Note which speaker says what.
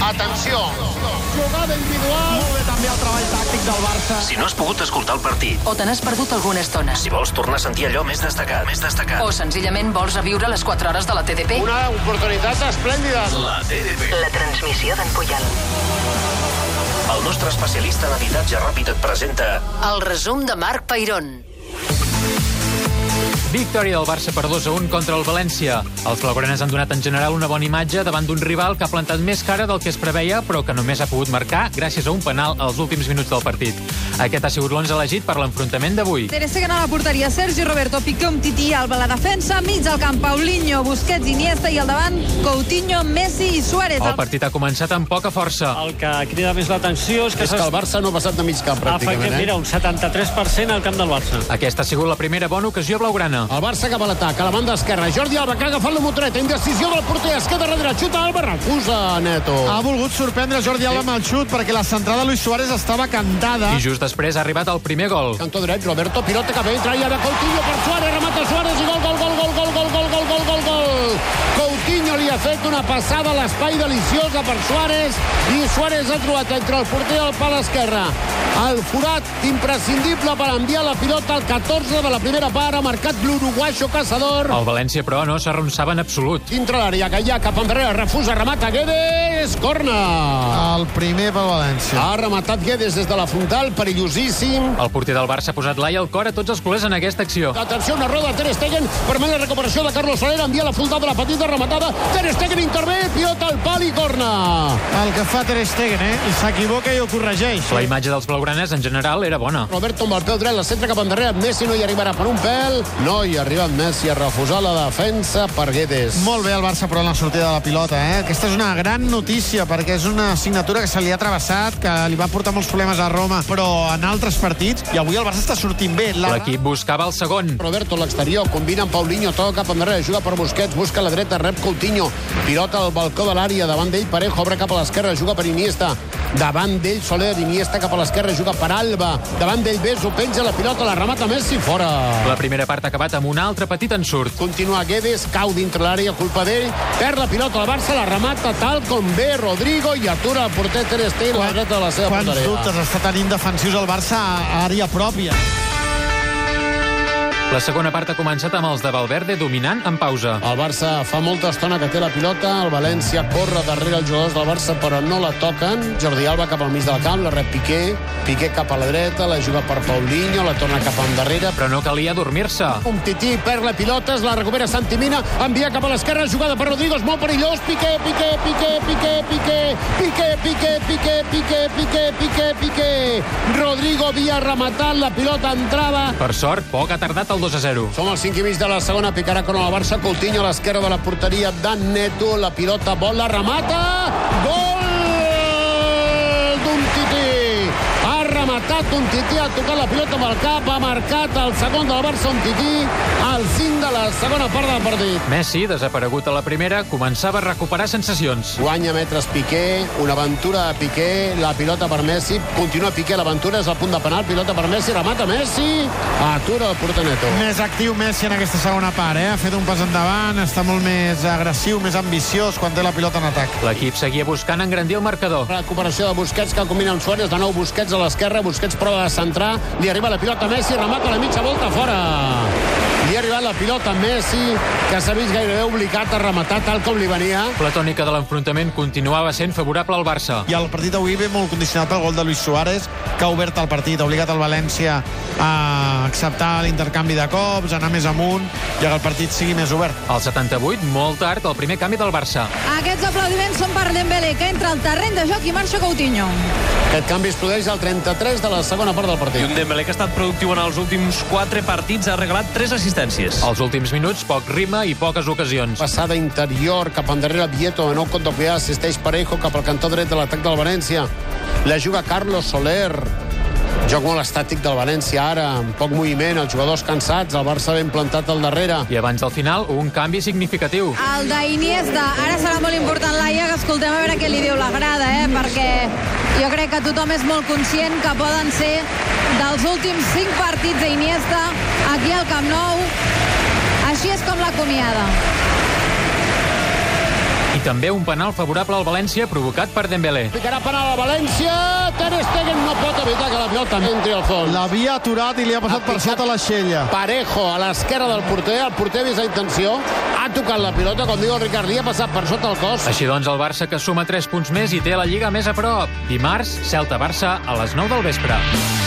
Speaker 1: Atenció!
Speaker 2: Jugada individual. Molt bé també el treball tàctic del Barça.
Speaker 3: Si no has pogut escoltar el partit,
Speaker 4: o te n'has perdut alguna estona,
Speaker 3: si vols tornar a sentir allò més destacat, més destacat,
Speaker 4: o senzillament vols reviure les 4 hores de la TDP,
Speaker 1: Una oportunitat esplèndida.
Speaker 3: la TDP.
Speaker 4: la transmissió d'en Puyol.
Speaker 3: El nostre especialista en habitatge ràpid et presenta
Speaker 4: El resum de Marc Peirón.
Speaker 5: Victòria del Barça per 2 a 1 contra el València. Els blaugranes han donat en general una bona imatge davant d'un rival que ha plantat més cara del que es preveia, però que només ha pogut marcar gràcies a un penal als últims minuts del partit. Aquest ha sigut l'11 elegit per l'enfrontament d'avui.
Speaker 6: Ter Stegen a la porteria, Sergi Roberto, Piqué, Umtiti, Alba a la defensa, mig al camp, Paulinho, Busquets, Iniesta i al davant, Coutinho, Messi i Suárez.
Speaker 5: El partit ha començat amb poca força.
Speaker 7: El que crida més l'atenció és que
Speaker 2: És que el
Speaker 7: s'ha...
Speaker 2: Barça no ha passat de mig camp,
Speaker 7: Efectivament,
Speaker 2: pràcticament.
Speaker 7: mira,
Speaker 2: Eh?
Speaker 7: un 73% al camp del Barça.
Speaker 5: Aquesta ha sigut la primera bona ocasió blaugrana.
Speaker 2: El Barça cap a l'atac, a la banda esquerra. Jordi Alba, que ha agafat la motreta. Indecisió del porter, es queda darrere. Xuta Alba, recusa Neto.
Speaker 8: Ha volgut sorprendre Jordi Alba amb el xut perquè la centrada de Luis Suárez estava cantada.
Speaker 5: I just després ha arribat el primer gol.
Speaker 2: Cantó dret, Roberto, pilota cap a dintre, i ara Coutinho per Suárez, remata Suárez, i gol, gol, gol, gol, gol, gol, gol, gol, gol, gol, gol. Coutinho li ha fet una passada a l'espai deliciosa per Suárez, i Suárez ha trobat entre el porter i el pal esquerre. El forat imprescindible per enviar la pilota al 14 de la primera part, ha marcat l'uruguaixo Casador.
Speaker 5: El València, però, no s'arronsava en absolut.
Speaker 2: Dintre l'àrea, Gallà, cap enrere, refusa, remata Guedes, corna.
Speaker 8: El primer pel València.
Speaker 2: Ha rematat Guedes des de la frontal, perillosíssim.
Speaker 5: El porter del Barça ha posat l'ai al cor a tots els culers en aquesta acció.
Speaker 2: Atenció, una roda, Ter Stegen, permet la recuperació de Carlos Soler, envia la fundada, la petita rematada, Ter Stegen intervé, pilota al pal i corna.
Speaker 8: El que fa Ter Stegen, eh? S'equivoca i ho corregeix. eh?
Speaker 5: La imatge dels blaugranes, en general, era bona.
Speaker 2: Roberto amb el peu dret, la centra cap endarrere, Messi no hi arribarà per un pèl, no hi ha arribat Messi a refusar la defensa per Guedes.
Speaker 8: Molt bé el Barça, però en la sortida de la pilota, eh? Aquesta és una gran notícia, perquè és una assignatura que se li ha travessat, que li va portar molts problemes a Roma, però en altres partits, i avui el Barça està sortint bé. La...
Speaker 5: L'equip buscava el segon.
Speaker 2: Roberto a l'exterior, combina amb Paulinho, toca cap endarrere, juga per Busquets, busca a la dreta, rep Coutinho, pilota al balcó de l'àrea, davant d'ell Parejo, obre cap a l'esquerra, juga per Iniesta, davant d'ell Soler, Iniesta cap a l'esquerra, juga per Alba, davant d'ell Beso, penja la pilota, la remata Messi, fora.
Speaker 5: La primera part ha acabat amb un altre petit ensurt.
Speaker 2: Continua Guedes, cau dintre l'àrea, culpa d'ell, perd la pilota al Barça, la remata tal com ve Rodrigo i atura el porter Ter Stegen a la dreta de la seva
Speaker 8: Quants
Speaker 2: porteria.
Speaker 8: dubtes està tenint defensius el Barça a àrea pròpia.
Speaker 5: La segona part ha començat amb els de Valverde dominant en pausa.
Speaker 2: El Barça fa molta estona que té la pilota, el València corre darrere els jugadors del Barça però no la toquen. Jordi Alba cap al mig del camp, la rep Piqué, Piqué cap a la dreta, la juga per Paulinho, la torna cap endarrere,
Speaker 5: Però no calia dormir-se.
Speaker 2: Un tití, perd la pilota, es la recupera Santi Mina, envia cap a l'esquerra, jugada per Rodrigo, és molt perillós, Piqué, Piqué, Piqué, Piqué, Piqué, Piqué, Piqué, Piqué, Piqué, Piqué, Piqué, Piqué. Rodrigo havia rematat, la pilota entrava,
Speaker 5: Per sort, poc ha tardat el 2 a 0.
Speaker 2: som els 5 i mig de la segona, picarà con el Barça, Coutinho a l'esquerra de la porteria, Dan Neto, la pilota vola, remata, gol d'un tití! Ha rematat un tití, ha tocat la pilota amb el cap, ha marcat el segon del Barça un tití, al 5 de la segona part del partit.
Speaker 5: Messi, desaparegut a la primera, començava a recuperar sensacions.
Speaker 2: Guanya metres Piqué, una aventura de Piqué, la pilota per Messi, continua Piqué, l'aventura és al punt de penal, pilota per Messi, remata Messi, atura el porter Neto.
Speaker 8: Més actiu Messi en aquesta segona part, eh? Ha fet un pas endavant, està molt més agressiu, més ambiciós quan té la pilota en atac.
Speaker 5: L'equip seguia buscant engrandir el marcador.
Speaker 2: Recuperació de Busquets que combina amb Suárez. De nou Busquets a l'esquerra. Busquets prova de centrar. Li arriba la pilota a Messi. Remata la mitja volta fora. Li ha arribat la pilota a Messi, que s'ha vist gairebé obligat a rematar tal com li venia.
Speaker 5: La tònica de l'enfrontament continuava sent favorable al Barça.
Speaker 8: I el partit avui ve molt condicionat pel gol de Luis Suárez, que ha obert el partit, ha obligat el València a acceptar l'intercanvi de cops, anar més amunt i que el partit sigui més obert.
Speaker 5: Al 78, molt tard, el primer canvi del Barça.
Speaker 6: Aquests aplaudiments són per Dembélé, que entra al terreny de joc i marxa Coutinho.
Speaker 2: Aquest canvi es produeix al 33 de la segona part del
Speaker 9: I
Speaker 2: partit.
Speaker 9: un Dembélé que ha estat productiu en els últims 4 partits, ha regalat 3 assistències.
Speaker 5: Als últims minuts, poc ritme i poques ocasions.
Speaker 2: Passada interior, cap endarrere Vieto, de nou contra Cuidà, assisteix Parejo cap al cantó dret de l'atac del València. La juga Carlos Soler. Joc molt estàtic del València ara, amb poc moviment, els jugadors cansats, el Barça ben plantat al darrere.
Speaker 5: I abans del final, un canvi significatiu.
Speaker 6: El d'Iniesta, ara serà molt important l'Aia, que escoltem a veure què li diu la grada, eh? perquè jo crec que tothom és molt conscient que poden ser dels últims 5 partits d'Iniesta aquí al Camp Nou. Així és com l'acomiada.
Speaker 5: I També un penal favorable al València provocat per Dembélé.
Speaker 2: Picarà penal a València. Ter Stegen no pot evitar que la pilota entri al fons.
Speaker 8: L'havia aturat i li ha passat per sota la xella.
Speaker 2: Parejo a l'esquerra del porter. El porter ha vist la intenció. Ha tocat la pilota, com diu el Ricard, li ha passat per sota el cos.
Speaker 5: Així doncs, el Barça que suma 3 punts més i té la Lliga més a prop. Dimarts, Celta-Barça a les 9 del vespre.